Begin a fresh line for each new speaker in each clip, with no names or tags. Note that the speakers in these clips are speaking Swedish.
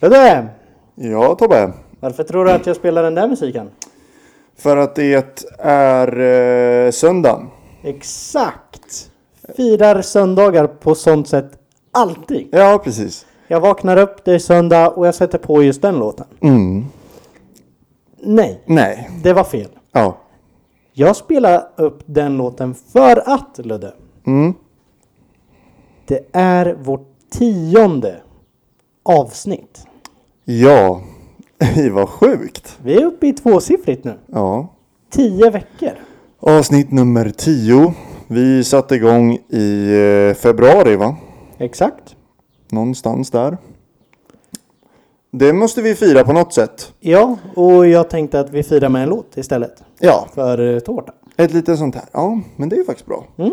Tjena!
Ja, Tobbe.
Varför tror du att jag spelar den där musiken?
För att det är eh, söndag.
Exakt! Firar söndagar på sånt sätt alltid.
Ja, precis.
Jag vaknar upp, det är söndag och jag sätter på just den låten.
Mm.
Nej,
Nej.
det var fel.
Ja.
Jag spelar upp den låten för att, Ludde,
Mm.
det är vårt tionde avsnitt.
Ja. Det var sjukt.
Vi är uppe i tvåsiffrigt nu.
Ja.
Tio veckor.
Avsnitt nummer 10. Vi satte igång i eh, februari, va?
Exakt.
Någonstans där. Det måste vi fira på något sätt.
Ja, och jag tänkte att vi firar med en låt istället.
Ja,
För eh, tårta.
ett litet sånt här. Ja, men det är faktiskt bra.
Mm.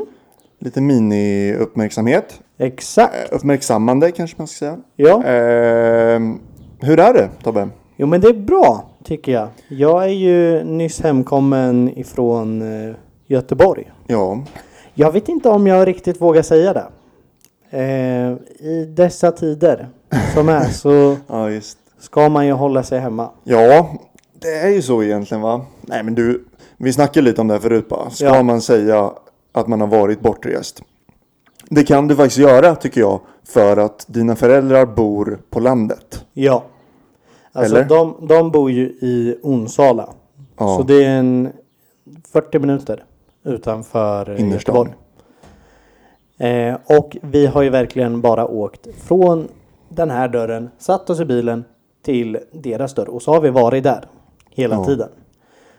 Lite mini-uppmärksamhet.
Exakt.
Eh, Uppmärksammande kanske man ska säga.
Ja.
Ehm, hur är det Tobbe?
Jo men det är bra tycker jag. Jag är ju nyss hemkommen ifrån eh, Göteborg.
Ja,
Jag vet inte om jag riktigt vågar säga det. Eh, I dessa tider som är så
ja just.
ska man ju hålla sig hemma.
Ja, det är ju så egentligen va? Nej men du, vi snackade lite om det här förut bara. Ska
Ja.
man säga att man har varit bortrest? Det kan du faktiskt göra tycker jag. För att dina föräldrar bor på landet.
Ja. Alltså
Eller?
de, de bor ju i Onsala.
Ja.
Så det är en 40 minuter utanför eh,
Innerstan.
Göteborg. Eh, och vi har ju verkligen bara åkt från den här dörren, satt oss i bilen till deras dörr och så har vi varit där hela
Ja.
tiden.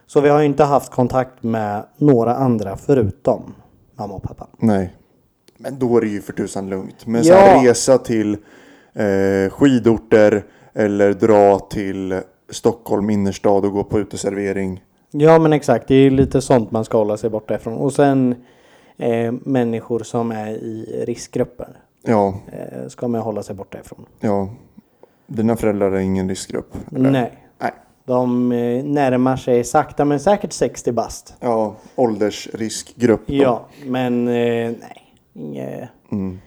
Så vi har ju inte haft kontakt med några andra förutom mamma och pappa.
Nej. Men då är det ju för tusan lugnt. Men
Ja.
så här, resa till eh, skidorter eller dra till Stockholm innerstad och gå på uteservering.
Ja men exakt, det är lite sånt man ska hålla sig borta ifrån. Och sen eh, människor som är i riskgrupper
Ja,
eh, ska man hålla sig borta ifrån.
ja. Dina föräldrar är ingen riskgrupp? eller?
Nej.
Nej.
De eh, närmar sig sakta men säkert 60 bast.
Ja, åldersriskgrupp. då.
Ja, men eh, nej. Inge-
Mm,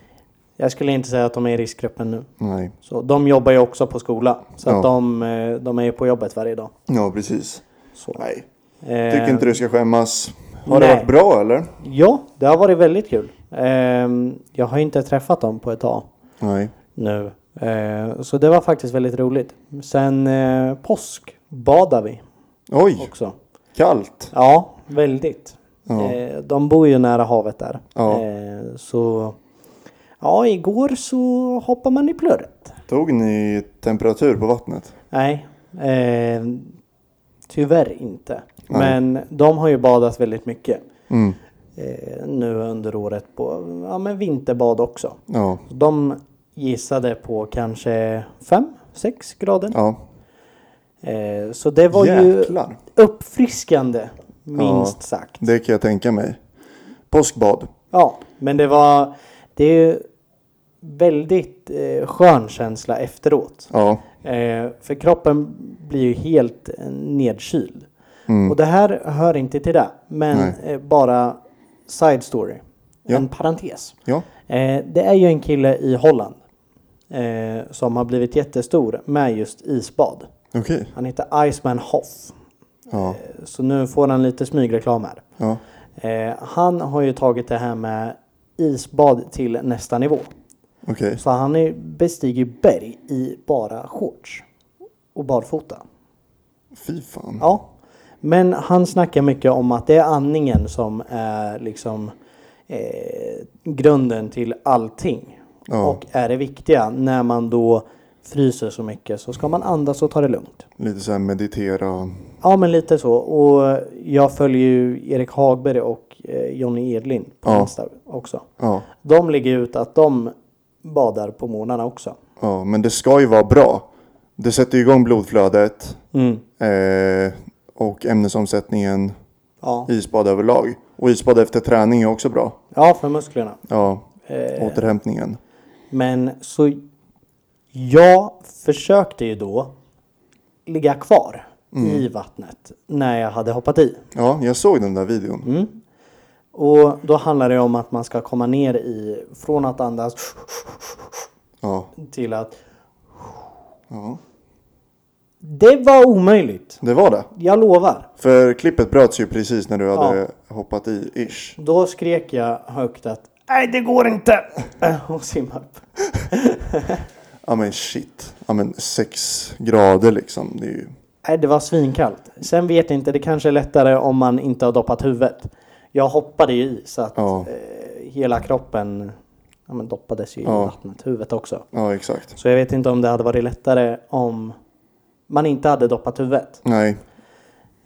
Jag skulle inte säga att de är i riskgruppen nu.
nej.
Så de jobbar ju också på skola. Så
Ja.
att de, eh, de är ju på jobbet varje dag.
Ja, precis.
Så.
Nej.
Eh,
Tycker inte du ska skämmas. Har det
nej.
varit bra eller?
Ja, det har varit väldigt kul. Ehm, jag har inte träffat dem på ett tag.
Nej.
nu. Eh, så det var faktiskt väldigt roligt. Sen eh, påsk badar vi
Oj,
också.
kallt.
Ja, väldigt.
Ja.
Eh, de bor ju nära havet där.
Ja.
Eh, så ja, igår så hoppar man i plurret.
Tog ni temperatur på vattnet?
Nej, eh, tyvärr inte.
Nej.
Men de har ju badat väldigt mycket
Mm.
eh, nu under året på ja, men vinterbad också.
Ja.
De gissade på kanske 5-6 grader.
ja.
Eh, så det var ju
Jäklar.
uppfriskande, minst sagt.
Det kan jag tänka mig. Påskbad.
Ja, men det var... Det är ju väldigt eh, skön känsla efteråt.
Ja.
Eh, för kroppen blir ju helt eh, nedkyld.
Mm.
Och det här hör inte till det, men
Nej.
eh, bara side story.
Ja.
En parentes.
Ja.
Eh, det är ju en kille i Holland eh, som har blivit jättestor med just isbad.
Okej.
Han heter Iceman Hoff. Eh,
Ja.
Så nu får han lite smygreklam här.
Ja.
Eh, han har ju tagit det här med isbad till nästa nivå.
Okej.
Så han är- bestiger berg i bara shorts och barfota.
Fy fan.
Ja. Men han snackar mycket om att det är andningen som är liksom eh, grunden till allting.
Ja.
Och är det viktiga när man då fryser så mycket så ska man andas och ta det lugnt.
Lite så här meditera.
Ja men lite så. Och jag följer ju Erik Hagberg och eh, Jonny Edlin på
Ja.
Insta också.
Ja.
De lägger ut att de badar på morgnarna också.
Ja, men det ska ju vara bra. Det sätter ju igång blodflödet eh, och ämnesomsättningen
Ja.
isbad överlag. Och isbad efter träning är också bra.
ja, för musklerna.
Ja,
Eh,
återhämtningen.
Men så jag försökte ju då ligga kvar i vattnet när jag hade hoppat i.
Ja, jag såg den där videon.
Och då handlar det om att man ska komma ner i från att andas
Ja,
till att
Ja,
Det var omöjligt.
det var det.
Jag lovar.
För klippet bröts ju precis när du hade hoppat i, ish.
Då skrek jag högt att Nej, det går inte! Och simmade upp.
Ja men shit. Ja men sex grader liksom. Det är ju...
Nej, det var svinkallt. Sen vet jag inte, det kanske är lättare om man inte har doppat huvudet. Jag hoppade ju i så att
Ja.
eh, hela kroppen ja, men doppades ju
Ja.
i vattnet, huvudet också.
Ja exakt.
Så jag vet inte om det hade varit lättare om man inte hade doppat huvudet.
Nej,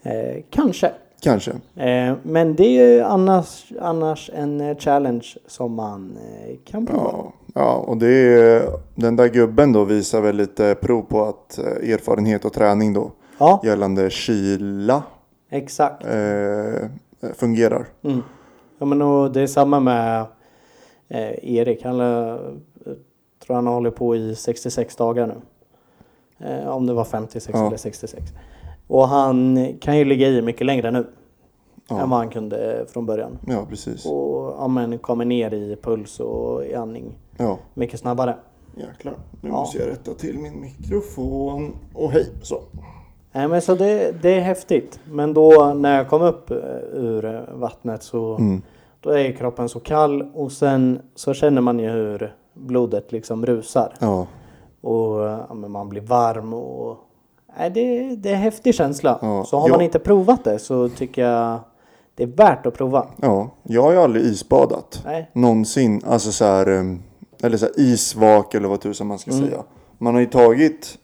Eh, kanske.
kanske.
Eh, men det är ju annars, annars en eh, challenge som man eh, kan prova.
Ja, ja och det är, den där gubben då visar väl lite prov på att eh, erfarenhet och träning då
Ja,
gällande kyla
exakt.
eh, fungerar.
Mm. Ja, men och det är samma med eh, Erik. Han lär- tror han håller på i 66 dagar nu. Eh, om det var 56
Ja.
eller 66. Och han kan ju ligga i mycket längre nu än
Ja,
vad han kunde från början.
ja precis.
Och ja, men, kommer ner i puls och i andning
Ja,
mycket snabbare.
jäklar. Nu
Ja. måste
jag rätta till min mikrofon. Och hej, så.
Nej, Eh, men så det, det är häftigt. Men då när jag kom upp eh, ur eh, vattnet så
Mm.
då är ju kroppen så kall och sen så känner man ju hur blodet liksom rusar.
Ja,
Och ja, men man blir varm och... Nej, det, det är en häftig känsla.
Ja,
Så har
ja.
man inte provat det så tycker jag det är värt att prova.
ja. Jag har ju aldrig isbadat.
Nej.
Någonsin. Alltså så här. eh, Eller så här isvak eller vad tusan man ska säga. Man har ju tagit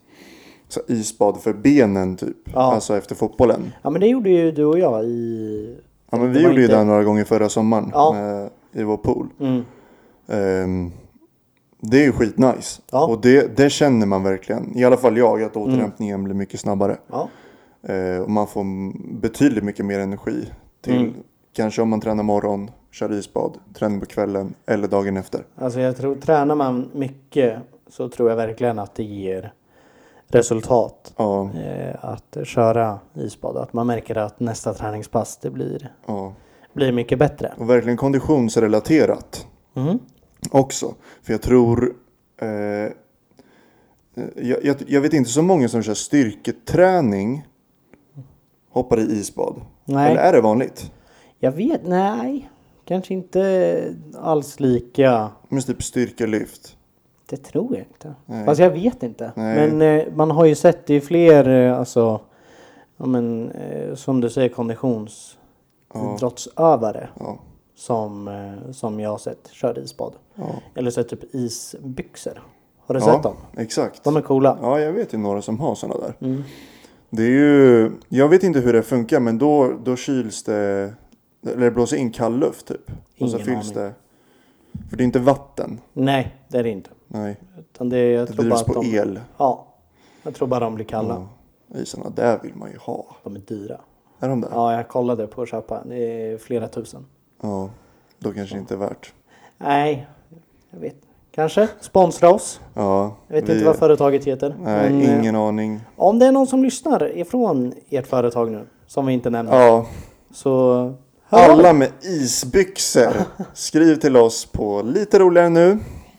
så här, isbad för benen typ.
Ja.
Alltså efter fotbollen.
Ja, men det gjorde ju du och jag i...
Ja men vi
Det var
gjorde ju
inte-
det några gånger förra sommaren
Ja.
med, i vår pool.
Mm.
Ehm, det är ju skitnice.
Ja. Mm.
Och det, det känner man verkligen. I alla fall jag, att återhämtningen blir mycket snabbare.
Ja.
Eh, och man får m- betydligt mycket mer energi till
Mm.
kanske om man tränar morgon, kör isbad, träning på kvällen eller dagen efter.
Alltså jag tror, tränar man mycket så tror jag verkligen att det ger resultat.
Ja,
Eh, att köra isbad. Att man märker att nästa träningspass det blir,
ja.
blir mycket bättre.
Och verkligen konditionsrelaterat.
Mm.
också. För jag tror... Eh, eh, jag, jag, jag vet inte så många som kör styrketräning hoppar i isbad.
Nej.
Eller är det vanligt?
Jag vet, nej. Kanske inte alls lika.
Men typ styrkelyft.
Det tror jag inte.
Nej.
Fast jag vet inte.
Nej.
Men eh, man har ju sett det i fler, eh, alltså, ja, men, eh, som du säger, konditionsidrottsövare
Ja,
som, eh, som jag har sett kör isbad.
ja.
Eller sett typ isbyxor. Har du
ja,
sett dem?
Exakt.
De är coola.
Ja, jag vet ju några som har sådana där.
Mm.
Det är ju... Jag vet inte hur det funkar men då, då kyls det... Eller det blåser in kall luft typ. och så
Ingen
fylls
aning.
det. För det är inte vatten.
Nej, det är det inte.
Nej.
Utan det, är- jag
Det
tror bara
drivs
att
på
de,
el.
Ja, jag tror bara de blir kalla.
Ja. Isarna där vill man ju ha.
De är dyra.
Är de där?
Ja, jag kollade på att köpa. Det är flera tusen.
Ja, då kanske det inte är värt.
Nej, jag vet Kanske sponsra oss.
Ja,
Jag vet
vi-
inte vad företaget heter.
Nej,
Men, eh,
ingen aning.
Om det är någon som lyssnar ifrån ert företag nu, som vi inte nämner,
Ja,
så hör av er.
alla med isbyxor. Skriv till oss på lite roligare nu.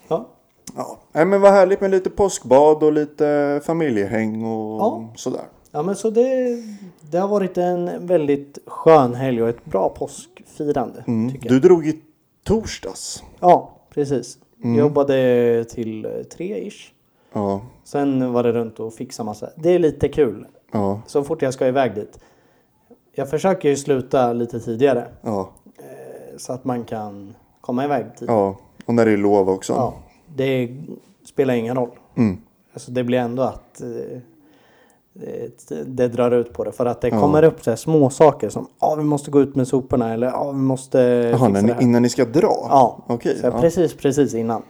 Ja.
Ja, nej, men vad härligt med lite påskbad och lite familjehäng och
Ja.
sådär.
ja, men så det, det har varit en väldigt skön helg och ett bra påskfirande.
Mm.
Tycker jag.
Du drog i torsdags.
Ja, precis.
Mm.
Jobbade till tre ish.
Ja,
Sen var det runt och fixa massa. Det är lite kul.
ja,
Så fort jag ska iväg dit. Jag försöker ju sluta lite tidigare. eh,
ja,
Så att man kan komma iväg tidigt.
ja. Och när det är lov också.
Ja, det spelar ingen roll.
Mm.
Alltså det blir ändå att eh, det, det drar ut på det. För att det kommer upp så här små saker som ah, vi måste gå ut med soporna eller ah, vi måste
Jaha,
fixa
när
det
ni,
här.
innan ni ska dra?
Ja,
Okej.
så här,
Ja.
precis, precis innan.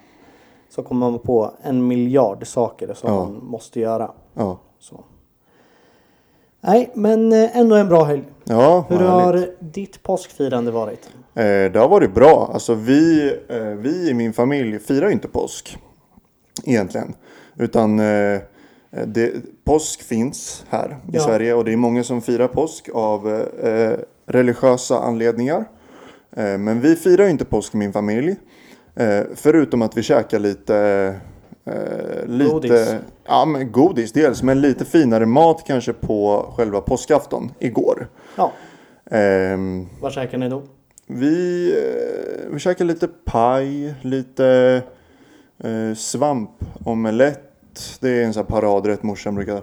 Så kommer man på en miljard saker som
Ja.
man måste göra.
Ja.
Så. Nej, men eh, ändå en bra helg.
ja,
Hur
vad härligt.
har ditt påskfirande varit?
Eh, det har varit bra. Alltså vi, eh, vi i min familj firar ju inte påsk. Egentligen. Utan eh, det, påsk finns här i
Ja.
Sverige. Och det är många som firar påsk av eh, eh, religiösa anledningar. Eh, men vi firar ju inte påsk i min familj. Eh, förutom att vi käkar lite eh, lite,
Godis.
Ja, men godis dels, men lite finare mat kanske på själva påskafton igår.
Ja,
Ehm,
vad käkar ni då?
vi, eh, vi käkade lite paj, lite eh, svampomelett. Det är en sån här paradrätt morsan brukar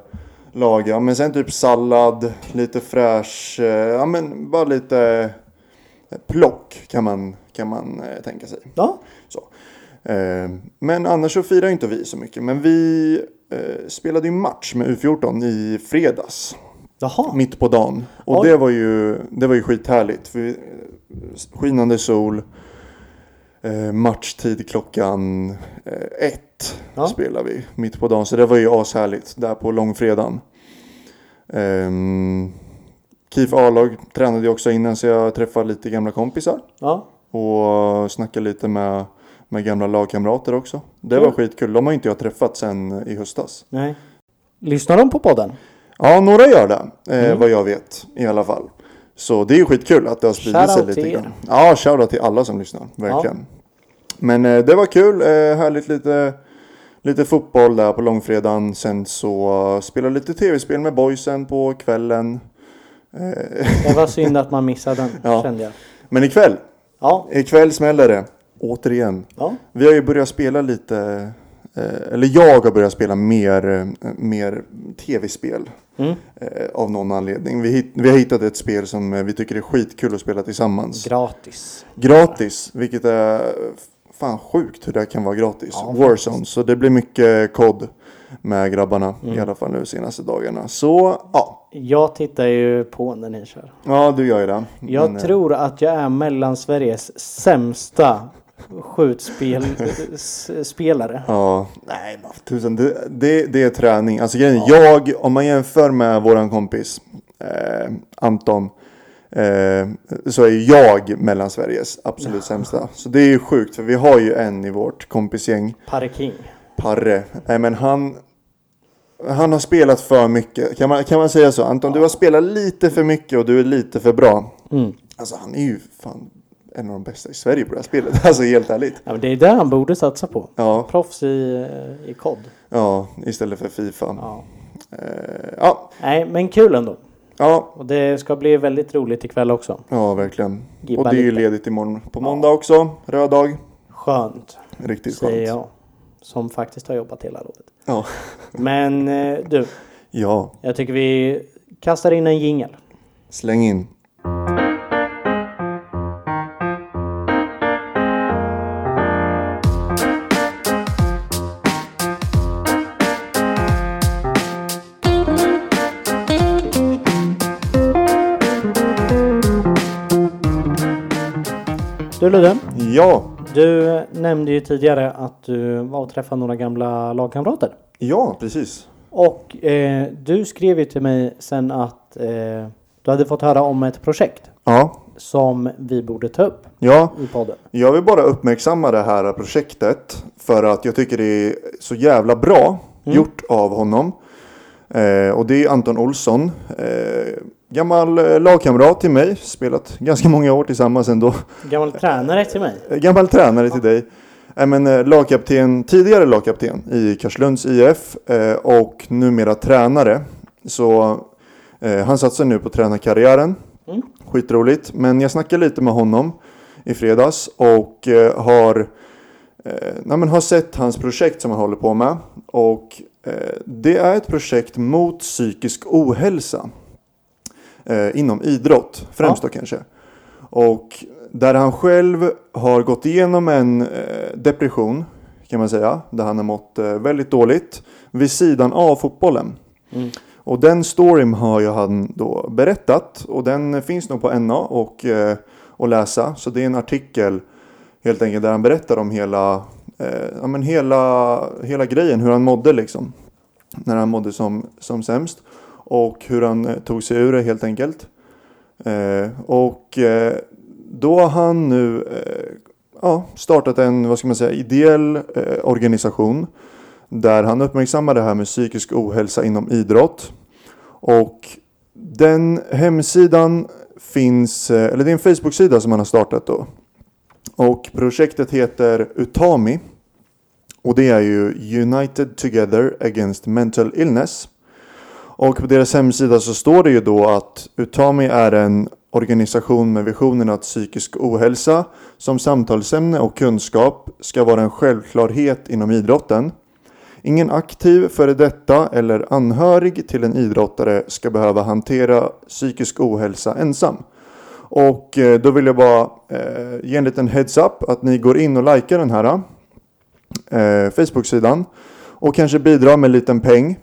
laga. Men sen typ sallad, lite fräsch, eh, ja men bara lite eh, plock kan man, kan man eh, tänka sig.
Ja,
Eh, men annars så firar inte vi så mycket. Men vi eh, spelade ju match med U14 i fredags.
jaha.
Mitt på dagen. Och
Oj.
det var, ju, det var ju skithärligt. För vi, eh, skinande sol. Eh, matchtid klockan eh, ett
Ja.
spelar vi mitt på dagen. Så det var ju ashärligt där på långfredagen. Ehm, KIF A-lag tränade jag också innan så jag träffade lite gamla kompisar.
Ja,
Och snackade lite med, med gamla lagkamrater också. Det
Kul.
var skitkul. De har inte jag träffat sen i höstas.
nej. Lyssnar de på podden?
Ja, några gör det. Eh,
Mm.
Vad jag vet i alla fall. Så det är ju skitkul att det har spridit sig
Shoutout
lite
till
grann. Ja, shoutout till alla som lyssnar. Verkligen. Men eh, det var kul. Eh, härligt lite, lite fotboll där på långfredagen. Sen så eh, spelade lite tv-spel med boysen på kvällen. Eh,
Det var synd att man missade den,
Ja.
kände jag.
men ikväll,
Ja,
ikväll smäller det. Återigen.
ja.
Vi har ju börjat spela lite, eh, eller jag har börjat spela mer, eh, mer tv-spel
Mm.
eh, av någon anledning. Vi, hitt, vi har hittat ett spel som eh, vi tycker är skitkul att spela tillsammans.
Gratis.
gratis, vilket är fan sjukt hur det här kan vara gratis.
Ja,
Warzone, så det blir mycket kod med grabbarna i alla fall nu senaste dagarna. Så ja,
Jag tittar ju på när ni kör.
ja du gör ju det.
Jag
Men, eh,
tror att jag är Mellansveriges sämsta skjutspelare.
Ja, nej men för tusan. Det, det, det är träning. Alltså grejen, jag, om man jämför med våran kompis eh, Anton. Eh, så är jag mellan Sveriges absolut sämsta. Så det är ju sjukt för vi har ju en i vårt kompisgäng.
Parking.
Parre. Nej men han. Han har spelat för mycket. Kan man, kan man säga så? Anton, du har spelat lite för mycket och du är lite för bra.
Mm.
Alltså han är ju fan en av de bästa i Sverige på det här spelet. Alltså helt ärligt.
Ja, men det är det han borde satsa på.
Ja,
Proffs i, eh, i kod.
ja istället för Fifa.
Ja.
Eh, ja,
Nej, men kul ändå.
ja,
Och det ska bli väldigt roligt ikväll också.
ja, verkligen.
Gibba
och det är ju
lite.
ledigt imorgon. På måndag också. Röd dag.
Skönt,
Riktigt
säger
skönt.
jag. Som faktiskt har jobbat hela lovet.
Ja.
Men eh, du,
ja,
jag tycker vi kastar in en jingel.
släng in.
Du Ludde,
Ja,
du nämnde ju tidigare att du var och träffade några gamla lagkamrater.
ja, precis.
Och eh, du skrev ju till mig sen att eh, du hade fått höra om ett projekt
Ja,
som vi borde ta upp
ja.
i podden.
Jag vill bara uppmärksamma det här projektet för att jag tycker det är så jävla bra
Mm.
gjort av honom. Eh, och det är Anton Olsson. Eh, gammal eh, lagkamrat till mig, spelat ganska många år tillsammans ändå.
Gammal tränare till mig.
Eh, Gammal tränare till dig. Nej, men, eh, lagkapten, tidigare lagkapten i Karlslunds IF eh, och numera tränare. Så eh, han satsar nu på tränarkarriären.
Mm.
Skitroligt. Men jag snackade lite med honom i fredags och eh, har, eh, nej, men har sett hans projekt som han håller på med. Och eh, det är ett projekt mot psykisk ohälsa. Eh, inom idrott, främst då kanske. Och där han själv har gått igenom en eh, depression kan man säga. Där han har mått eh, väldigt dåligt vid sidan av fotbollen.
Mm.
Och den storyn har ju han då berättat och den finns nog på NA och, eh, att läsa. Så det är en artikel helt enkelt där han berättar om hela, eh, ja, men hela, hela grejen, hur han mådde liksom. När han mådde som, som sämst. Och hur han eh, tog sig ur det helt enkelt. Eh, och eh, då har han nu eh, ja, startat en, vad ska man säga, ideell eh, organisation. Där han uppmärksammar det här med psykisk ohälsa inom idrott. Och den hemsidan finns, eh, eller det är en Facebook-sida som han har startat då. Och projektet heter Utami. Och det är ju United Together Against Mental Illness. Och på deras hemsida så står det ju då att Utami är en organisation med visionen att psykisk ohälsa som samtalsämne och kunskap ska vara en självklarhet inom idrotten. Ingen aktiv före detta eller anhörig till en idrottare ska behöva hantera psykisk ohälsa ensam. Och eh, då vill jag bara eh, ge en liten heads up att ni går in och likar den här eh, Facebook-sidan och kanske bidrar med en liten peng.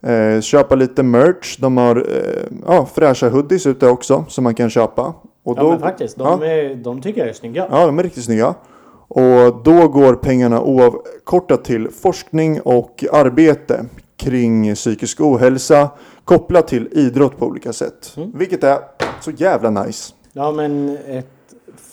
Eh, köpa lite merch. De har eh, ja, fräscha hoodies ute också som man kan köpa. Och
Ja men faktiskt, de,
ja.
är, de tycker jag är snygga.
Ja, de är riktigt snygga. Och då går pengarna oavkortat till forskning och arbete kring psykisk ohälsa kopplat till idrott på olika sätt. Vilket är så jävla nice.
Ja men ett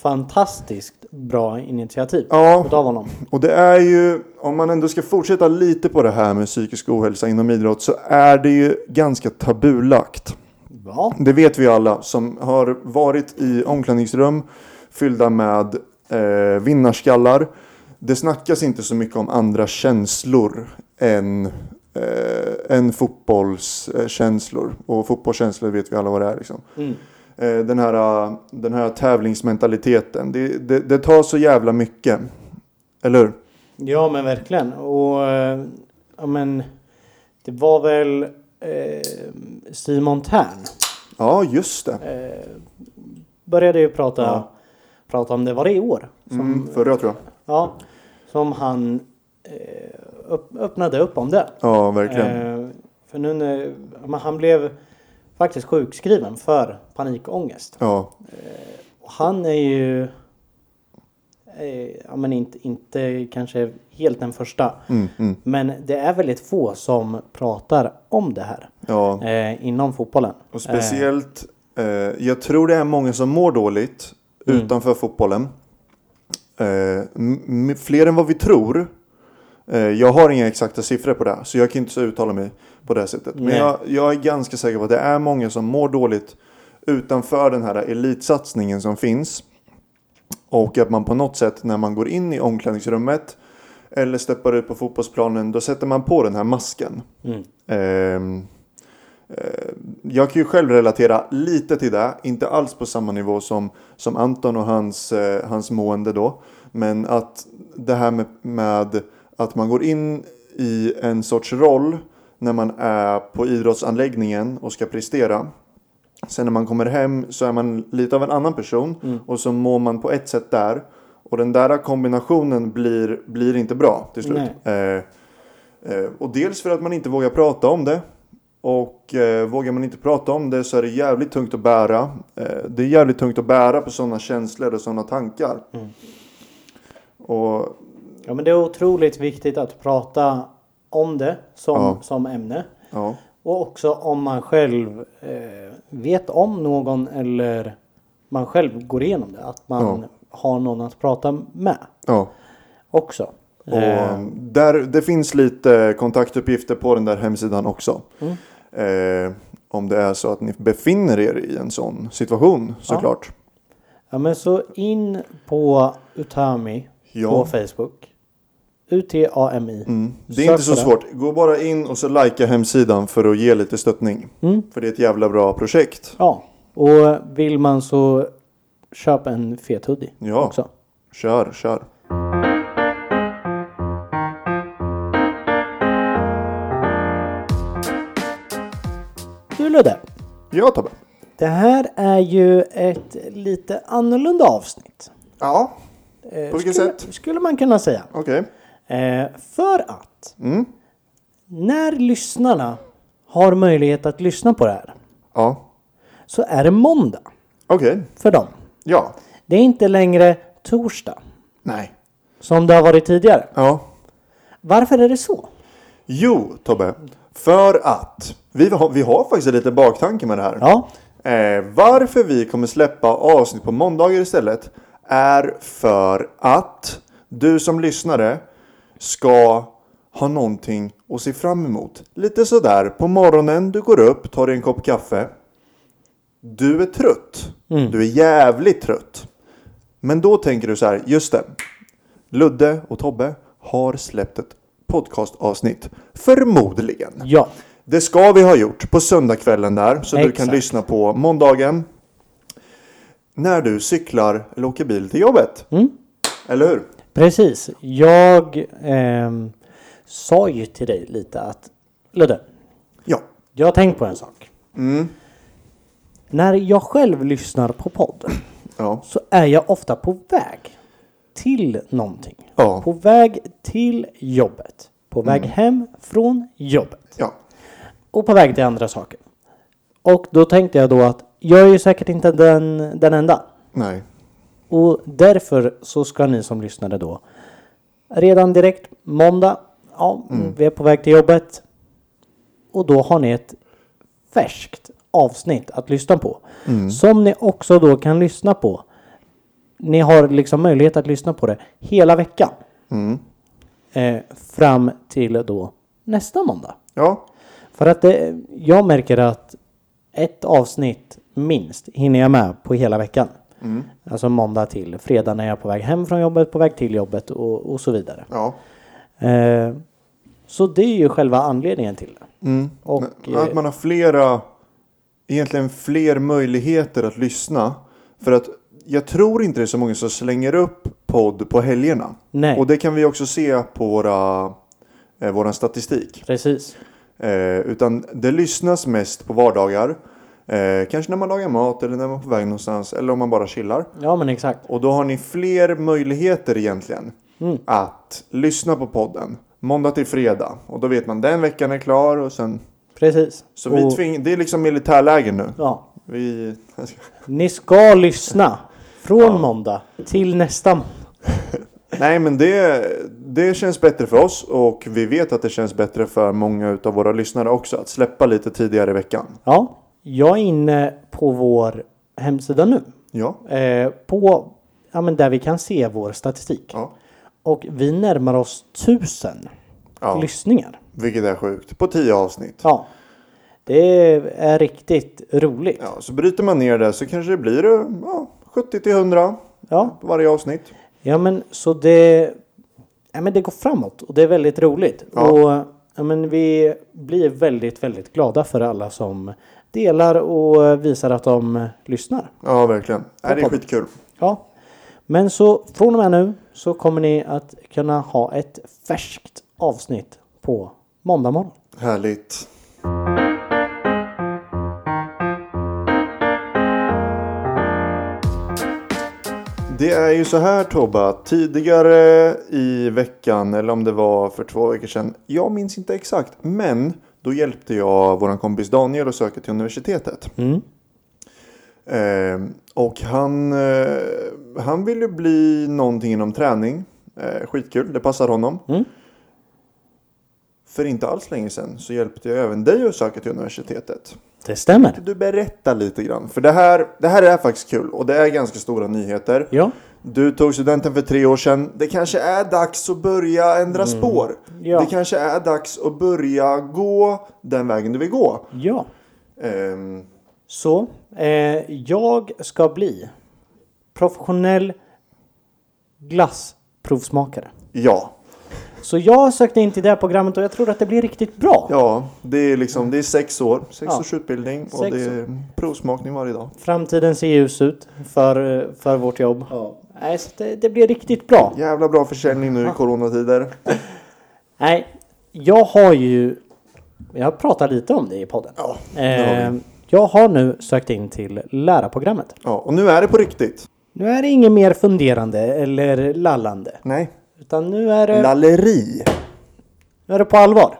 fantastiskt bra initiativ
Ja,
utav honom.
och det är ju, om man ändå ska fortsätta lite på det här med psykisk ohälsa inom idrott så är det ju ganska tabulagt.
Ja.
Det vet vi alla som har varit i omklädningsrum fyllda med eh, vinnarskallar. Det snackas inte så mycket om andra känslor än, eh, än fotbollskänslor. Och fotbollskänslor vet vi alla vad det är. Liksom.
Mm.
Eh, den, här, eh, den här tävlingsmentaliteten. Det, det, det tar så jävla mycket. Eller hur?
Ja men verkligen. Och eh, ja, men det var väl eh, Simon Tern
Ja, just det.
eh, började ju prata,
Ja.
prata om det. Var det i år? Som,
Mm, förra tror jag.
ja, som han eh, öpp- öppnade upp om det.
Ja, verkligen.
Eh, för nu när, men han blev faktiskt sjukskriven för panikångest.
Ja,
Och han är ju eh, ja, men inte, inte kanske helt den första.
mm, mm,
Men det är väldigt få som pratar om det här
ja.
eh, inom fotbollen.
Och speciellt, eh, jag tror det är många som mår dåligt utanför fotbollen. Eh, m- m- fler än vad vi tror. Eh, jag har inga exakta siffror på det, här, så jag kan inte så uttala mig på det här sättet. Men
Nej.
jag, jag är ganska säker på att det är många som mår dåligt utanför den här elitsatsningen som finns. Och att man på något sätt när man går in i omklädningsrummet eller steppar ut på fotbollsplanen, då sätter man på den här masken.
Mm.
Ehm, eh, jag kan ju själv relatera lite till det, inte alls på samma nivå som, som Anton och hans, eh, hans mående då. Men att det här med, med att man går in i en sorts roll när man är på idrottsanläggningen och ska prestera. Sen när man kommer hem så är man lite av en annan person och så mår man på ett sätt där. Och den där kombinationen blir, blir inte bra till slut. Eh, Eh, Och dels för att man inte vågar prata om det. Och eh, vågar man inte prata om det så är det jävligt tungt att bära. Eh, det är jävligt tungt att bära på sådana känslor och sådana tankar. Och
Ja, men det är otroligt viktigt att prata om det som,
Ja.
som ämne.
ja,
Och också om man själv eh, vet om någon eller man själv går igenom det. Att man
Ja.
har någon att prata med
ja.
också.
Och
Eh.
mm, där, det finns lite kontaktuppgifter på den där hemsidan också. Eh, om det är så att ni befinner er i en sån situation såklart.
Ja men så in på Utami
Ja.
på Facebook. U-T-A-M-I.
Mm. Det är
Sök
inte så
på det.
svårt. Gå bara in och så likea hemsidan för att ge lite stöttning.
Mm.
För det är ett jävla bra projekt.
Ja. Och vill man så köp en fet hoodie
Ja.
också.
Kör, kör.
Du Ludde.
Ja Tobbe.
Det här är ju ett lite annorlunda avsnitt.
Ja.
Eh,
På vilket
skulle,
sätt?
Skulle man kunna säga.
Okej.
Eh, för att
Mm.
när lyssnarna har möjlighet att lyssna på det här
Ja.
så är det måndag
Okej.
för dem.
Ja.
Det är inte längre torsdag
Nej.
som det har varit tidigare.
Ja.
Varför är det så?
Jo Tobbe. För att. Vi har, vi har faktiskt lite baktanke med det här.
Ja,
Eh, varför vi kommer släppa avsnitt på måndagar istället är för att du som lyssnare ska ha någonting att se fram emot. Lite sådär på morgonen, du går upp, tar dig en kopp kaffe. Du är trött. Du är jävligt trött. Men då tänker du så här, just det. Ludde och Tobbe har släppt ett podcastavsnitt. Förmodligen.
Ja,
Det ska vi ha gjort på söndagskvällen där. Så du kan
Exakt.
lyssna på måndagen. När du cyklar eller åker bil till jobbet.
Mm.
Eller hur?
precis. Jag ehm, sa ju till dig lite att Ludde,
Ja.
jag har tänkt på en sak. När jag själv lyssnar på podden
Ja.
så är jag ofta på väg till någonting.
Ja.
På väg till jobbet. På väg hem från jobbet.
Ja.
Och på väg till andra saker. Och då tänkte jag då att jag är ju säkert inte den, den enda.
Nej.
Och därför så ska ni som lyssnade då redan direkt måndag. Ja, vi är på väg till jobbet. Och då har ni ett färskt avsnitt att lyssna på. Som ni också då kan lyssna på. Ni har liksom möjlighet att lyssna på det hela veckan.
Mm.
Eh, fram till då nästa måndag.
Ja.
För att det, jag märker att ett avsnitt minst hinner jag med på hela veckan.
Mm.
Alltså måndag till fredag när jag är på väg hem från jobbet, på väg till jobbet och, och så vidare.
Ja.
Eh, så det är ju själva anledningen till det. Och,
Mm.
eh,
Men att man har flera, egentligen fler möjligheter att lyssna. För att jag tror inte det är så många som slänger upp podd på helgerna.
Nej.
Och det kan vi också se på våra, eh, våran statistik.
Precis.
Eh, utan det lyssnas mest på vardagar. Eh, kanske när man lagar mat eller när man är på väg någonstans. Eller om man bara chillar.
Ja men exakt.
Och då har ni fler möjligheter egentligen att lyssna på podden. Måndag till fredag. Och då vet man den veckan är klar och sen
Precis.
så vi
Och-
tving- det är liksom militärläger nu.
ja,
Vi...
ni ska lyssna från måndag till nästa måndag.
Nej men det, det känns bättre för oss och vi vet att det känns bättre för många av våra lyssnare också att släppa lite tidigare i veckan.
Ja, jag är inne på vår hemsida nu.
Ja.
Eh, på, ja, men där vi kan se vår statistik.
ja.
Och vi närmar oss tusen
Ja.
lyssningar.
Vilket är sjukt. På tio avsnitt.
Ja. Det är riktigt roligt. Ja.
Ja, så bryter man ner det så kanske det blir eh, ja, 70 till 100
Ja,
på varje avsnitt.
men så det... Ja, men det går framåt och det är väldigt roligt.
Ja.
Och ja, men vi blir väldigt, väldigt glada för alla som delar och visar att de lyssnar.
Ja, verkligen. Nej, det är skitkul.
Ja. Men så från och med nu så kommer ni att kunna ha ett färskt avsnitt på måndag morgon.
Härligt. Det är ju så här Tobbe, att tidigare i veckan eller om det var för två veckor sedan. Jag minns inte exakt, men då hjälpte jag vår kompis Daniel att söka till universitetet. Eh, och han, eh, han vill ju bli någonting inom träning. Eh, skitkul, det passar honom. För inte alls länge sedan så hjälpte jag även dig att söka till universitetet.
Det stämmer.
Du berättar lite grann, för det här, det här är faktiskt kul och det är ganska stora nyheter.
Ja.
Du tog studenten för tre år sedan. Det kanske är dags att börja ändra spår.
Mm. Ja.
Det kanske är dags att börja gå den vägen du vill gå.
Ja.
Ehm,
Så, eh, jag ska bli professionell glassprovsmakare.
ja,
Så jag sökte in till det här programmet och jag tror att det blir riktigt bra.
Ja, det är liksom det är sex år. Sex
Ja.
års utbildning och
Sex
det är provsmakning varje dag.
Framtiden ser ljus ut för, eh, för vårt jobb. Nej, så det, det blir riktigt bra.
Jävla bra försäljning nu i coronatider.
Nej, jag har ju... Jag har pratat lite om det i podden.
Ja, det har vi.
eh, jag har nu sökt in till lärarprogrammet.
Ja, och nu är det på riktigt.
Nu är det inget mer funderande eller lallande.
Nej.
Utan nu är det,
Eh. Lalleri.
nu är det på allvar.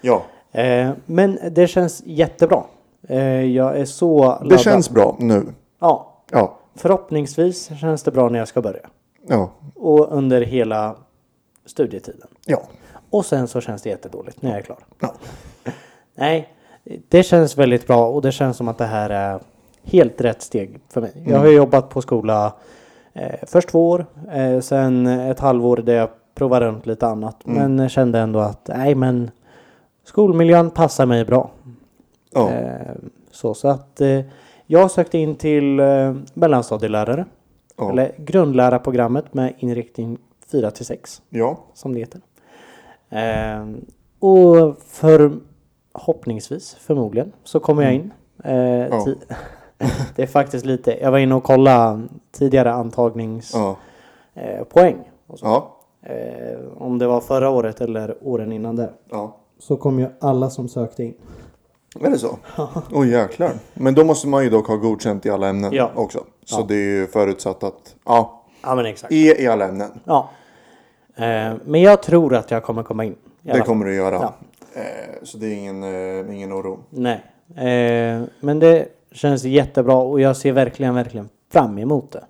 Ja,
Eh, men det känns jättebra. Eh, jag är så laddad.
det känns bra nu.
Ja,
Ja,
förhoppningsvis känns det bra när jag ska börja.
ja,
Och under hela studietiden.
ja.
Och sen så känns det jättedåligt när jag är klar.
Ja.
Nej, det känns väldigt bra och det känns som att det här är helt rätt steg för mig. Jag
Mm.
har ju jobbat på skola eh, först två år, eh, sen ett halvår där jag provade runt lite annat.
Mm.
Men kände ändå att nej men skolmiljön passar mig bra.
ja.
Eh, så, så att eh, jag sökte in till eh, mellanstadielärare.
Ja.
Eller grundlärarprogrammet med inriktning 4 till 6
Ja,
som det heter. Ehm, och förhoppningsvis, förmodligen, så kommer jag in. Eh, ti- det är faktiskt lite, jag var inne och kollade tidigare antagningspoäng.
ja,
Eh, poäng och så.
ja,
eh, om det var förra året eller åren innan det.
ja.
Så kom ju alla som sökte in.
Är det så? Åh jäklar. Men då måste man ju dock ha godkänt i alla ämnen
Ja.
också. Så det är ju förutsatt att, ja,
Ja men exakt.
E i alla ämnen.
Ja. Eh, men jag tror att jag kommer komma in. i alla
Det
fall.
kommer du göra. Eh, så det är ingen, eh, ingen oro.
Nej. Eh, men det känns jättebra och jag ser verkligen, verkligen fram emot det.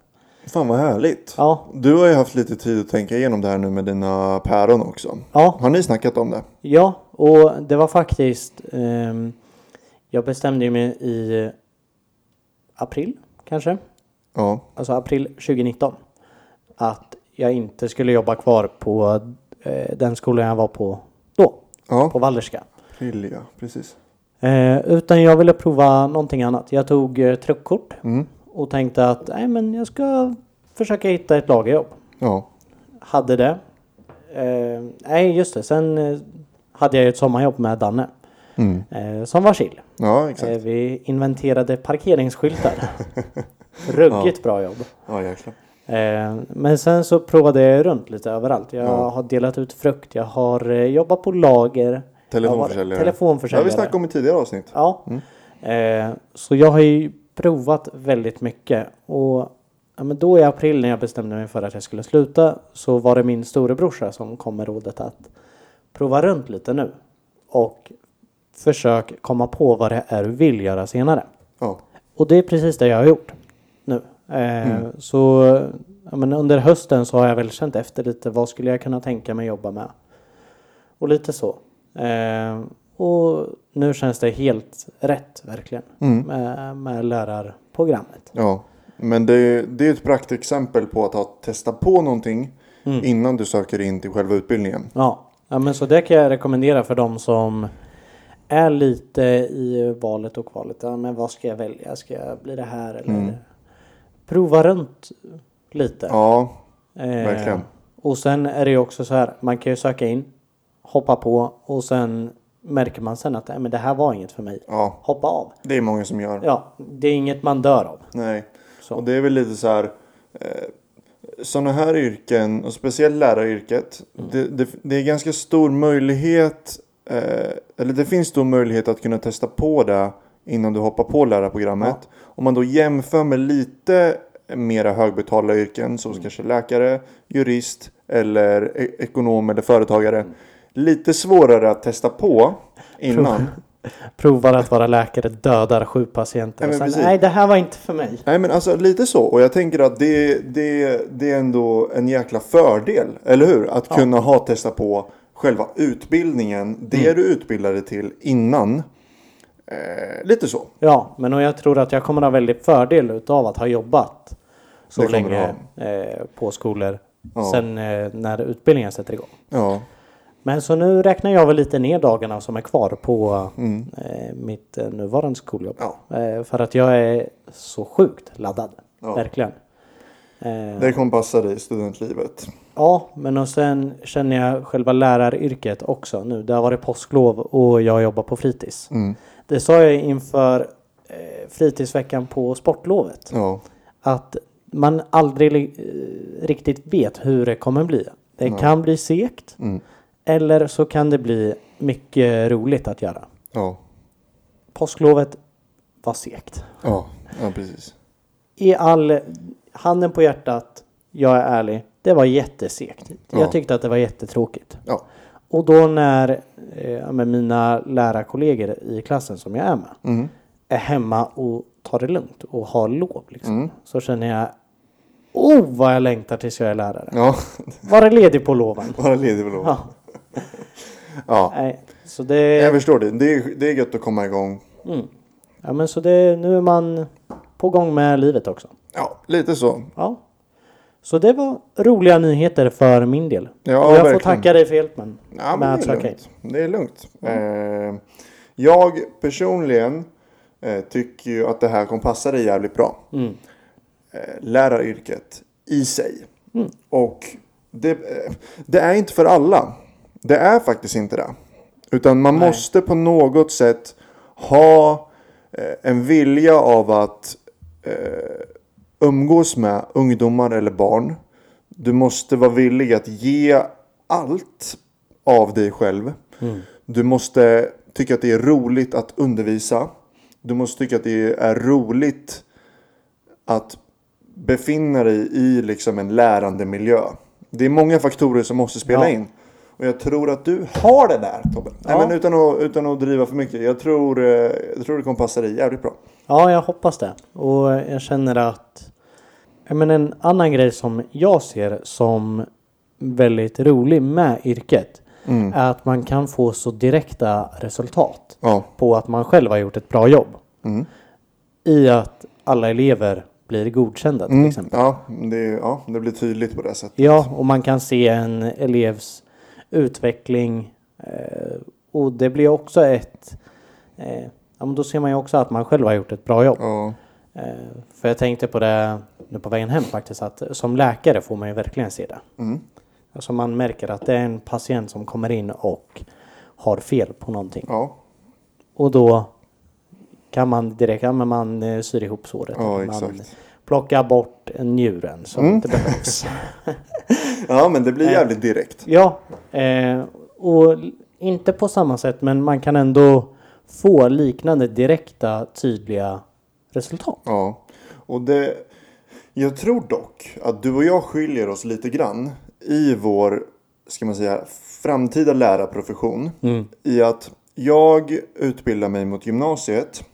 Fan vad härligt.
Ja,
Du har ju haft lite tid att tänka igenom det här nu med dina päron också.
ja,
Har ni snackat om det?
ja. Och det var faktiskt... ehm, jag bestämde ju mig i april, kanske.
Ja.
Alltså april 2019. Att jag inte skulle jobba kvar på eh, den skolan jag var på då.
Ja.
På Wallerska.
April ja, precis.
Eh, utan jag ville prova någonting annat. Jag tog eh, truckkort
Mm.
och tänkte att nej, men jag ska försöka hitta ett lagerjobb.
Ja.
Hade det. Eh, nej, just det. Sen eh, hade jag ju ett sommarjobb med Danne.
Mm.
Eh, som var chill.
Ja, exakt.
Eh, vi inventerade parkeringsskyltar. Ruggigt bra jobb.
Ja, jäklar.
Eh, men sen så provade jag runt lite överallt. Jag
Ja.
har delat ut frukt. Jag har eh, jobbat på lager. Jag
Telefonförsäljare.
har varit
Det har
Telefonförsäljare.
vi snackat om Mm. i tidigare avsnitt.
Ja. Eh, så jag har ju provat väldigt mycket. Och ja, men då i april när jag bestämde mig för att jag skulle sluta så var det min storebrorsa som kom med rådet att prova runt lite nu. Och försök komma på vad det är du vill göra senare.
Ja.
Och det är precis det jag har gjort nu. Eh, Så ja, men under hösten så har jag väl känt efter lite. Vad skulle jag kunna tänka mig jobba med? Och lite så. Eh, och nu känns det helt rätt verkligen. Med, med lärarprogrammet.
Ja, men det, det är ett praktexempel på att ha testat på någonting innan du söker in till själva utbildningen.
Ja. ja, men så det kan jag rekommendera för de som är lite i valet och kvalet. Ja, men vad ska jag välja? Ska jag bli det här? Eller Prova runt lite.
Ja,
Eh,
Verkligen.
Och sen är det ju också så här, man kan ju söka in, hoppa på och sen märker man sen att "Nej, men det här var inget för mig.
ja
Hoppa av.
det är många som gör.
Ja, det är inget man dör av.
Nej.
Så.
Och det är väl lite så här. Eh, sådana här yrken, och speciellt läraryrket. Det, det, det är ganska stor möjlighet. Eh, eller det finns stor möjlighet att kunna testa på det innan du hoppar på lärarprogrammet. Om man då jämför med lite mera högbetalda yrken som kanske läkare, jurist eller e- ekonom eller företagare. Lite svårare att testa på innan.
Provar att vara läkare, dödar sju patienter.
Nej,
Nej,
men
och sen,
precis.
nej det här var inte för mig.
Nej men alltså lite så. Och jag tänker att det, det, det är ändå en jäkla fördel. Eller hur? Att kunna ha testat på själva utbildningen. Det du utbildar dig till innan. Eh, lite så.
Ja, men och jag tror att jag kommer ha väldigt fördel utav att ha jobbat så
Det kommer
länge eh, på skolor.
Ja.
Sen eh, när utbildningen sätter igång.
Ja.
Men så nu räknar jag väl lite ner dagarna som är kvar på
Mm.
eh, mitt eh, nuvarande skoljobb.
Ja.
Eh, för att jag är så sjukt laddad.
Ja.
Verkligen. Eh,
Det kommer passa dig i studentlivet.
Ja, men och sen känner jag själva läraryrket också nu. Det har varit påsklov och jag jobbar på fritids.
Mm.
Det sa jag inför eh, fritidsveckan på sportlovet.
Ja.
Att man aldrig li- eh, riktigt vet hur det kommer bli. Det kan bli segt.
Mm.
Eller så kan det bli mycket roligt att göra.
Ja.
Påsklovet var segt.
Ja. Ja precis.
I all handen på hjärtat, jag är ärlig, det var jättesegt.
Ja.
Jag tyckte att det var jättetråkigt.
Ja.
Och då när eh, ja, men mina lärarkollegor i klassen som jag är med
Mm.
är hemma och tar det lugnt och har lov liksom,
Mm.
så känner jag Oh vad jag längtar tills jag är lärare.
Ja.
Vara ledig på loven.
Bara ledig och lov.
Ja,
Ja.
nej. Så det, mm.
Jag förstår det. Det är, det är gött att komma igång.
ja, men så det, nu är man på gång med livet också.
Ja. Lite så.
Ja. Så det var roliga nyheter för min del.
Ja,
och jag
verkligen.
får tacka dig för hjälpen.
Ja,
med
men
att
det, är
söka in.
lugnt. det är lugnt. Eh, jag personligen eh, tycker ju att det här kommer passa dig
Mm.
jävligt bra. Eh, läraryrket i sig. Och det, eh, det är inte för alla. Det är faktiskt inte det. Utan man
Nej.
måste på något sätt ha eh, en vilja av att eh, umgås med ungdomar eller barn. Du måste vara villig att ge allt av dig själv. Du måste tycka att det är roligt att undervisa. Du måste tycka att det är roligt att befinna dig i liksom en lärande miljö. Det är många faktorer som måste spela
Ja.
in. Och jag tror att du har det där Tobbe. Nej,
Ja.
men utan, att, utan att driva för mycket. Jag tror, eh, jag tror det kommer passa dig jävligt bra.
Ja, jag hoppas det. Och jag känner att... Ja, men en annan grej som jag ser som väldigt rolig med yrket
Mm.
är att man kan få så direkta resultat
Ja.
på att man själv har gjort ett bra jobb.
Mm.
I att alla elever blir godkända till
Mm.
exempel.
Ja, det, ja, det blir tydligt på det sättet.
Ja, och man kan se en elevs utveckling. Eh, och det blir också ett... Eh, ja, men då ser man ju också att man själv har gjort ett bra jobb.
Ja.
Eh, För jag tänkte på det nu på vägen hem faktiskt, att som läkare får man ju verkligen se det.
Mm.
Alltså man märker att det är en patient som kommer in och har fel på någonting.
Ja.
Och då kan man direkt, ja men man eh, syr ihop såret.
Ja,
eller man
exakt. Mm.
plockar bort njuren som inte behövs.
ja, men det
Eh.
blir jävligt direkt.
Ja, eh, och inte på samma sätt men man kan ändå få liknande direkta tydliga resultat.
Ja, och det... Jag tror dock att du och jag skiljer oss lite grann i vår, ska man säga, framtida lärarprofession. I att jag utbildar mig mot gymnasiet.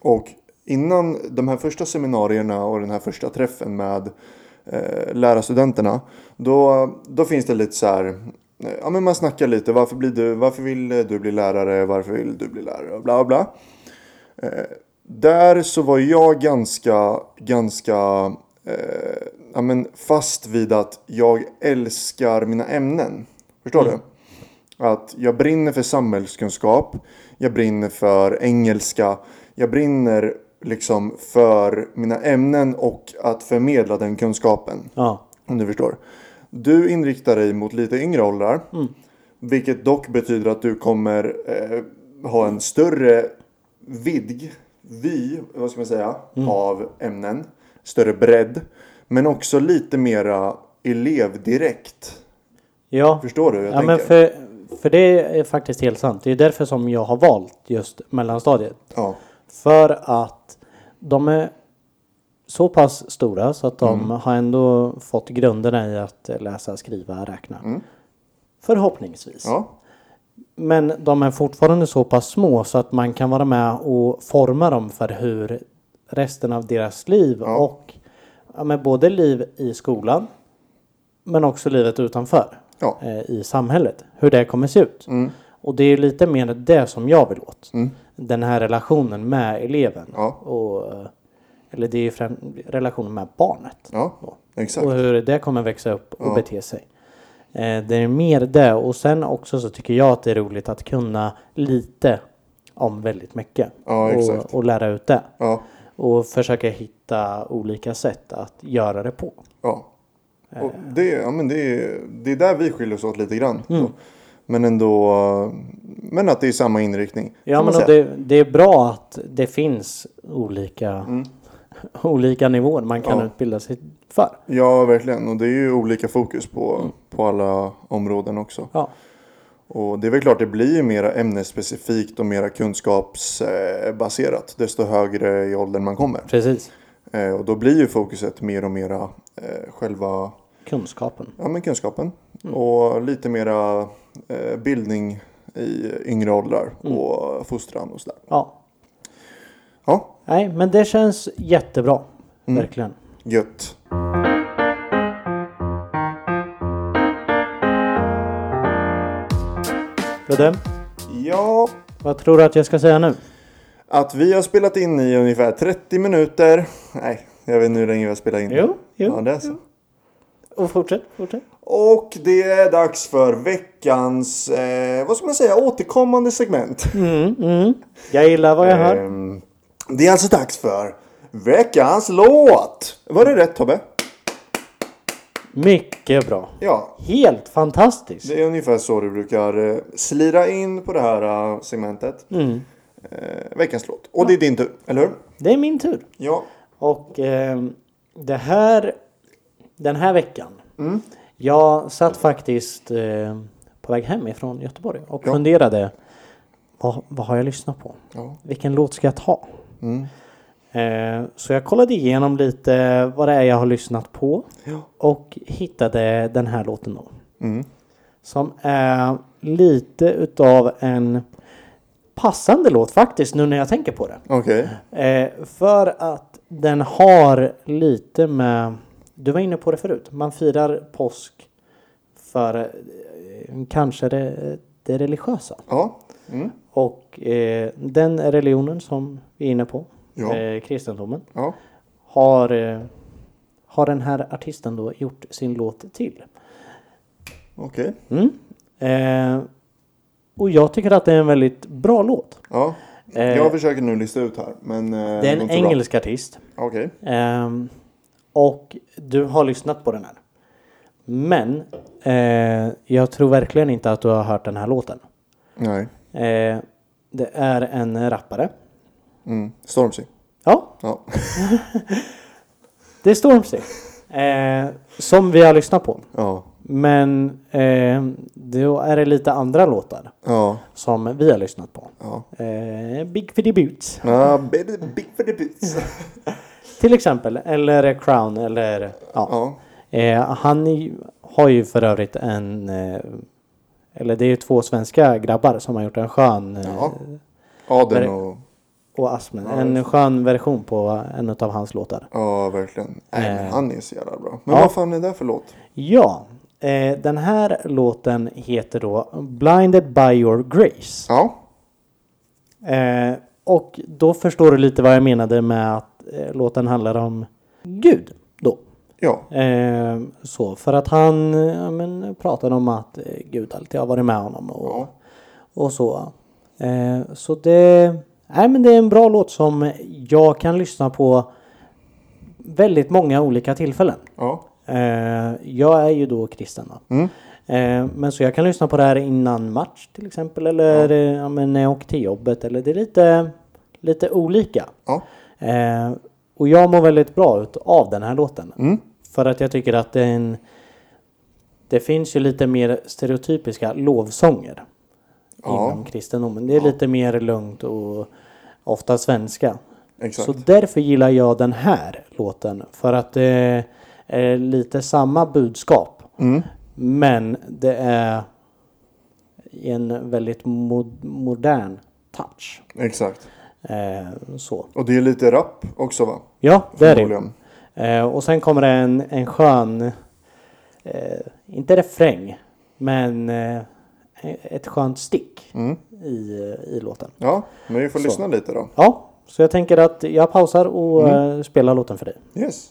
Och innan de här första seminarierna och den här första träffen med eh, lärarstudenterna. Då, då finns det lite så här. eh, Ja, men man snackar lite. Varför, blir du, varför vill eh, du bli lärare? Varför vill du bli lärare? Och Bla bla. Där så var jag ganska, ganska eh, ja, men fast vid att jag älskar mina ämnen. Förstår du? Att jag brinner för samhällskunskap. Jag brinner för engelska. Jag brinner liksom för mina ämnen och att förmedla den kunskapen.
Ja.
Om du förstår. Du inriktar dig mot lite yngre åldrar.
Mm.
Vilket dock betyder att du kommer eh, ha en större vidg. Vi, vad ska man säga,
Mm.
av ämnen. Större bredd. Men också lite mera elevdirekt.
Ja,
Förstår du hur jag
ja men
tänker?
för, för det är faktiskt helt sant. Det är därför som jag har valt just mellanstadiet.
Ja.
För att de är så pass stora så att
Mm.
de har ändå fått grunderna i att läsa, skriva, räkna. Förhoppningsvis.
Mm. ja.
Men de är fortfarande så pass små så att man kan vara med och forma dem för hur resten av deras liv
Ja.
och ja, men både liv i skolan men också livet utanför
Ja.
eh, i samhället. Hur det kommer se ut.
Mm.
Och det är lite mer det som jag vill åt. Den här relationen med eleven.
Ja.
Och, eh, eller det är ju främ- relationen med barnet.
Ja. Exakt.
Och hur det kommer växa upp och bete sig. Eh, Det är mer det och sen också så tycker jag att det är roligt att kunna lite om väldigt mycket.
Ja, exakt.
och, och lära ut det.
Ja.
Och försöka hitta olika sätt att göra det på.
Ja. Och
Eh.
det, ja men det, är- det är där vi skiljer oss åt lite grann.
Mm.
då. Men ändå. eh, Men att det är samma inriktning.
Ja
kan man
men och
säga.
det, det är bra att det finns olika, olika nivåer man kan
Mm. Ja.
utbilda sig för.
Ja, verkligen. Och det är ju olika fokus på,
Mm.
på alla områden också.
Ja.
Och det är väl klart, det blir ju mera ämnesspecifikt och mera kunskapsbaserat desto högre i åldern man kommer.
Precis.
Eh, Och då blir ju fokuset mer och mera eh, själva
Kunskapen.
ja, men kunskapen
Mm.
och lite mera eh, bildning i yngre åldrar
Mm.
och fostran och sådär.
Ja.
Ja,
Nej men det känns jättebra.
Mm.
Verkligen.
Gött.
Ludde,
Ja,
vad tror du att jag ska säga nu?
att vi har spelat in i ungefär 30 minuter. Nej, jag vet inte hur länge vi har spelat in.
Jo, jo.
Ja, det är så.
Och fortsätt, fortsätt.
Och det är dags för veckans, eh, vad ska man säga, återkommande segment.
Mm, mm. Jag gillar vad jag hör.
Ehm, det är alltså dags för veckans låt. Var det rätt Tobbe?
Mycket bra.
Ja,
Helt fantastiskt.
det är ungefär så du brukar eh, slira in på det här eh, segmentet.
Mm.
Eh, veckans låt. Och det är din tur, eller hur?
Det är min tur.
Ja.
Och ehm, det här... Den här veckan.
Mm.
Jag satt faktiskt eh, på väg hem ifrån Göteborg och
Ja.
funderade. Vad, vad har jag lyssnat på?
Ja.
Vilken låt ska jag ta?
Mm.
Eh, så jag kollade igenom lite vad det är jag har lyssnat på.
Ja.
Och hittade den här låten då.
Mm.
Som är lite utav en passande låt faktiskt nu när jag tänker på det.
Okej.
Eh, för att den har lite med... Du var inne på det förut. Man firar påsk för eh, kanske det, det religiösa.
Ja. Mm.
Och eh, den religionen som vi är inne på,
Ja.
eh, kristendomen,
Ja.
har, eh, har den här artisten då gjort sin låt till.
Okej.
Mm. Eh, och jag tycker att det är en väldigt bra låt.
Ja.
Eh,
Jag försöker nu lista ut här, men... eh,
det är
går
en
inte så bra.
engelsk artist.
Okej.
Ehm, och du har lyssnat på den här. Men eh, jag tror verkligen inte att du har hört den här låten.
Nej.
Eh, det är en rappare.
Mm. Stormzy.
Ja,
Ja.
det är Stormzy. Eh, som vi har lyssnat på.
Ja.
Men eh, då är det lite andra låtar
Ja.
som vi har lyssnat på.
Ja.
Eh, Big Fiddy Boots
Ah, baby, big for the boots.
till exempel. Eller Crown eller ja.
Ja.
Eh, han är ju- har ju för övrigt en... Eh, eller det är ju två svenska grabbar som har gjort en skön... Eh,
Ja. Aden och...
Och Asmen.
Ja,
en skön version på en av hans låtar.
Ja, verkligen. Nej, men
Eh.
han är så jävla bra. Men
Ja.
vad fan är det för låt?
Ja. Eh, den här låten heter då Blinded by your grace.
Ja.
Eh, och då förstår du lite vad jag menade med att eh, låten handlar om Gud. Då.
Ja.
Eh, så för att han eh, ja, men, pratade om att eh, Gud alltid har varit med honom. Och,
Ja.
och så. Eh, så det, nej, men det är en bra låt som jag kan lyssna på väldigt många olika tillfällen.
Ja.
Eh, jag är ju då kristen. Va?
Mm.
Eh, men så jag kan lyssna på det här innan match till exempel eller eh, ja. men, när jag åker till jobbet. Eller det är lite, lite olika.
Ja.
Eh, och jag mår väldigt bra ut av den här låten.
Mm.
För att jag tycker att den... Det finns ju lite mer stereotypiska lovsånger.
Ja.
Inom kristendomen. Det är lite mer lugnt och ofta svenska.
Exakt.
Så därför gillar jag den här låten. För att det är lite samma budskap.
Mm.
Men det är i en väldigt mod- modern touch.
Exakt.
Eh, så.
Och det är lite rap också va?
Ja, det är det.
Förmodligen.
Eh, och sen kommer det en, en skön, eh, inte refräng, men eh, ett skönt stick
Mm.
i, i låten.
Ja, men vi får
Så.
lyssna lite då.
Ja, så jag tänker att jag pausar och
Mm.
eh, spelar låten för dig.
Yes.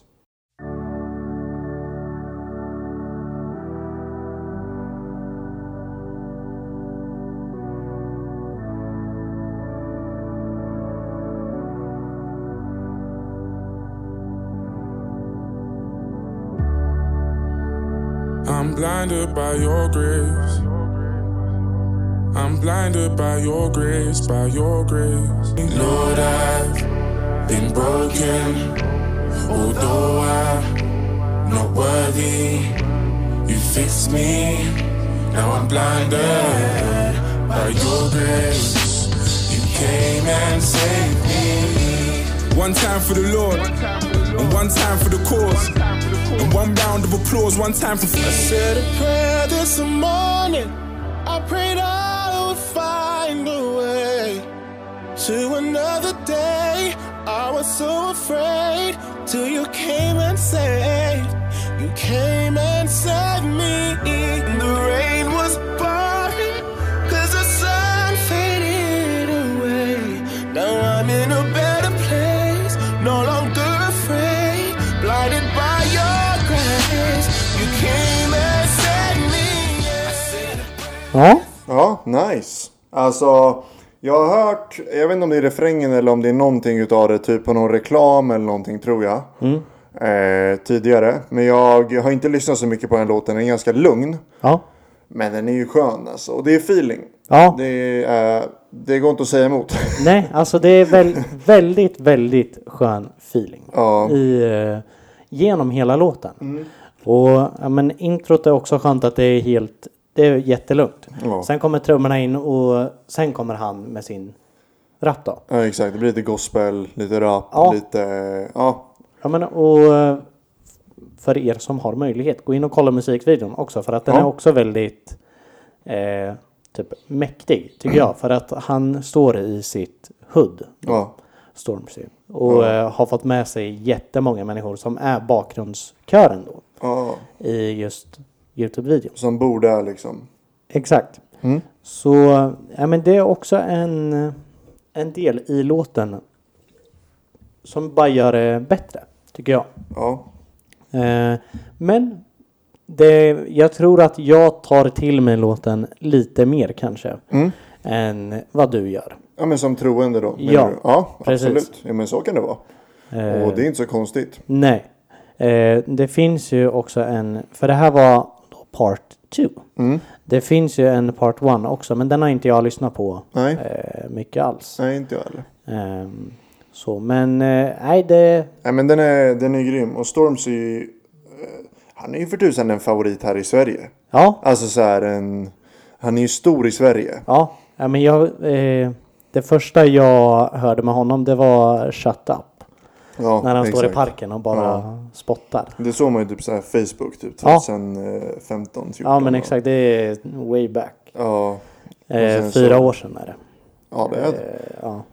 I'm blinded by your grace. I'm blinded by your grace, by your grace. Lord, I've been broken. Although I'm not worthy, you fixed me. Now I'm blinded by your grace. You came and saved me. One time for the Lord, and one time for the cause. And one round of applause, one time for. I said a prayer this morning. I prayed I would find a way to another day. I was so afraid till you came and saved. You came and saved me. The rain was pouring, cause the sun faded away. Now I'm in a better place, no longer afraid, blinded by your grace. You came and saved me. I said a
Ja,
Ja, nice. Alltså, jag har hört,
Mm.
jag vet inte om det är refrängen eller om det är någonting utav det, typ på någon reklam eller någonting tror jag. eh, tidigare. Men jag har inte lyssnat så mycket på den låten. Den är ganska lugn.
Ja.
Men den är ju skön alltså. Och det är feeling.
Ja.
Det, är, det går inte att säga emot.
Nej, alltså det är väl, väldigt, väldigt skön feeling.
ja. Mm.
i, eh, genom hela låten. Och ja, men introt är också skönt att det är helt, det är jättelugnt.
Ja.
Sen kommer trummorna in och sen kommer han med sin rap då.
ja, exakt. Det blir lite gospel, lite rap,
Ja.
lite... Ja,
Ja, men, och eh, för er som har möjlighet, gå in och kolla musikvideon också för att den
Ja.
är också väldigt eh, typ mäktig tycker jag. För att han står i sitt hood.
ja.
Stormzy. Och eh, har fått med sig jättemånga människor som är bakgrundskören då.
ja.
i just Youtube-videos.
Som bor där liksom.
Exakt.
Mm.
Så ja, men det är också en, en del i låten som bara gör det bättre, tycker jag.
Ja.
Eh, men det, jag tror att jag tar till mig låten lite mer kanske
Mm.
än vad du gör.
Ja men som troende då. menar
Ja,
du? ja
precis.
absolut. Ja, men så kan det vara.
Eh,
Och det är inte så konstigt.
Nej. Eh, det finns ju också en, för det här var då part 2.
Mm.
Det finns ju en part 1 också, men den har inte jag lyssnat på
Nej.
eh, mycket alls.
Nej inte jag heller.
Ehm, så, men eh, nej, det...
Nej men den är, den är grym. Och Storms är ju... eh, Han är ju för tusan en favorit här i Sverige.
Ja,
Alltså så här en... Han är ju stor i Sverige.
ja. ja men jag, eh, det första jag hörde med honom det var Shut Up.
Ja,
När han står i
exakt.
parken och bara
Ja.
spottar.
Det såg man ju typ så här Facebook typ
Ja.
2015, 14.
Ja, men exakt. Det är way back.
Ja. Och
Eh,
sen
fyra
så-
år sedan är det.
Ja det är det.
Eh, ja.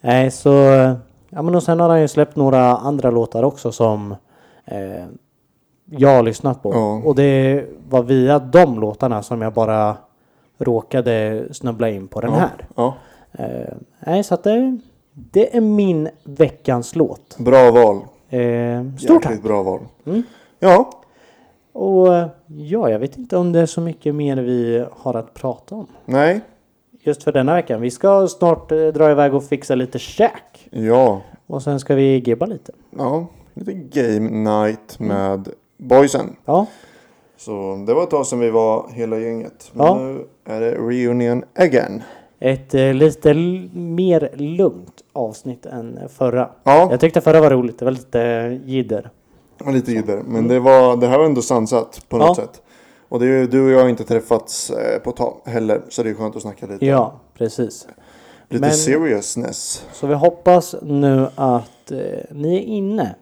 Nej, så... Ja, men och sen har han ju släppt några andra låtar också som eh, jag har lyssnat på.
Ja.
Och det var via de låtarna som jag bara råkade snubbla in på den
ja.
här.
Ja.
Eh, nej, så att det, det är min veckans låt.
Bra val.
Eh, stort tack!
Jäkligt bra val.
Mm.
Ja.
Och eh, ja, jag vet inte om det är så mycket mer vi har att prata om.
Nej.
Just för denna veckan. Vi ska snart eh, dra iväg och fixa lite käk.
Ja.
Och sen ska vi gibba lite.
Ja. Lite game night med boysen.
Ja,
Så det var ett tag sedan vi var hela gänget. Men
Ja.
nu är det reunion again.
ett eh, lite l- mer lugnt avsnitt än förra.
Ja,
Jag tyckte förra var roligt. Det var lite eh, jidder.
och lite jidder. Men det, var, det här var ändå sansat på något
Mm. Ja.
sätt. Och det är, ju- du och jag har inte träffats eh, på ett tag heller. Så det är skönt att snacka lite.
Ja, precis.
Lite
men-
seriousness.
Så vi hoppas nu att eh, ni är inne.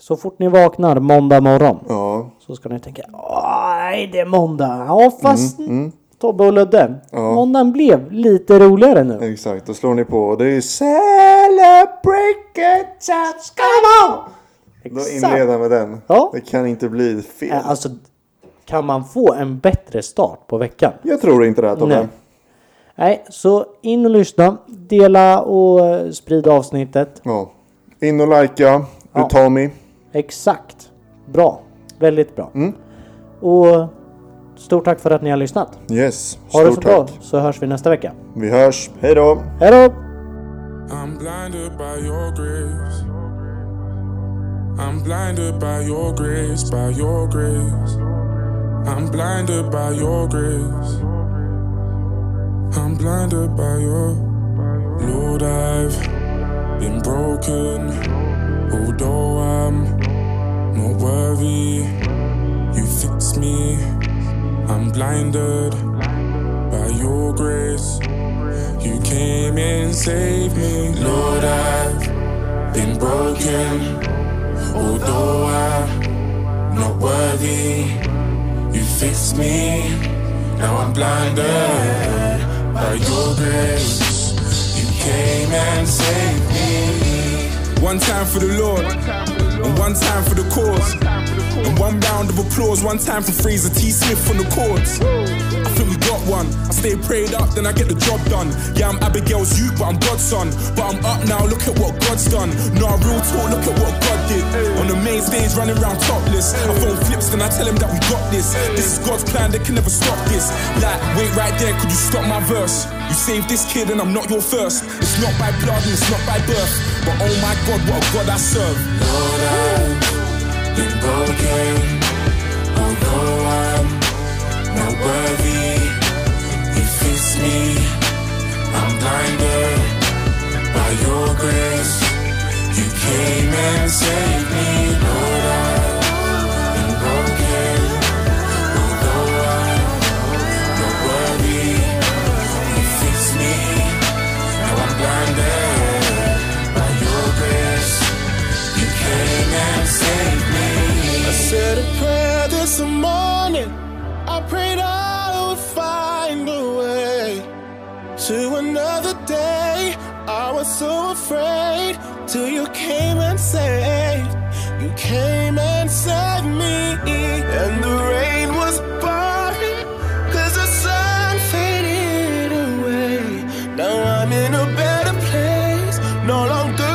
Så fort ni vaknar måndag morgon
Ja,
så ska ni tänka "Åh, nej det är måndag. Ja fast
mm.
Tobbe och Ludde,
Ja.
måndagen blev lite roligare nu.
exakt. Då slår ni på. Och Det är Celebrate good times, come on! Då inleder jag med den.
Ja.
Det kan inte bli fel.
Eh, Alltså, kan man få en bättre start på veckan?
Jag tror inte det här Tobbe.
Nej. Nej, så in och lyssna, dela och eh, sprida avsnittet.
Ja. In och likea.
Ja.
Ja. Utami.
Exakt. Bra. Väldigt bra.
Mm.
Och stort tack för att ni har lyssnat.
Yes.
Ha det så
Stort
bra
tack.
så hörs vi nästa vecka.
Vi hörs. Hej då.
Hej då!
I'm blinded by your grace. I'm blinded by your grace, by your grace. I'm blinded by your grace. I'm blinded by your Lord. I've been broken, although I'm not worthy. You fix me. I'm blinded by your grace. You came and saved me, Lord. I've been broken, although I'm not worthy. You fixed me, now I'm blinded by your grace. You came and saved me. One time for the Lord, and one time for the cause, and one round of applause. One time for Fraser T. Smith on the courts. I think we got one. I stay prayed up, then I get the job done. Yeah, I'm Abigail's youth, but I'm God's son. But I'm up now, look at what God's done. Nah, real talk, look at what God did. On the main stage, running around topless. I phone flips, then I tell him that we got this. This is God's plan, they can never stop this. Like, wait right there, could you stop my verse? You saved this kid, and I'm not your first. It's not by blood, and it's not by birth. But oh my God, what a God I serve. Lord, I been broken. Although I'm not worthy, He fits me. I'm blinded by Your grace. You came and saved me, Lord. I've been broken. Although I'm not worthy, He fits me. Now I'm blinded by Your grace. You came and saved me. I said a prayer this morning. I prayed I would find a way to another day. I was so afraid till you came and saved. You came and saved me. And the rain was pouring cause the sun faded away. Now I'm in a better place. No longer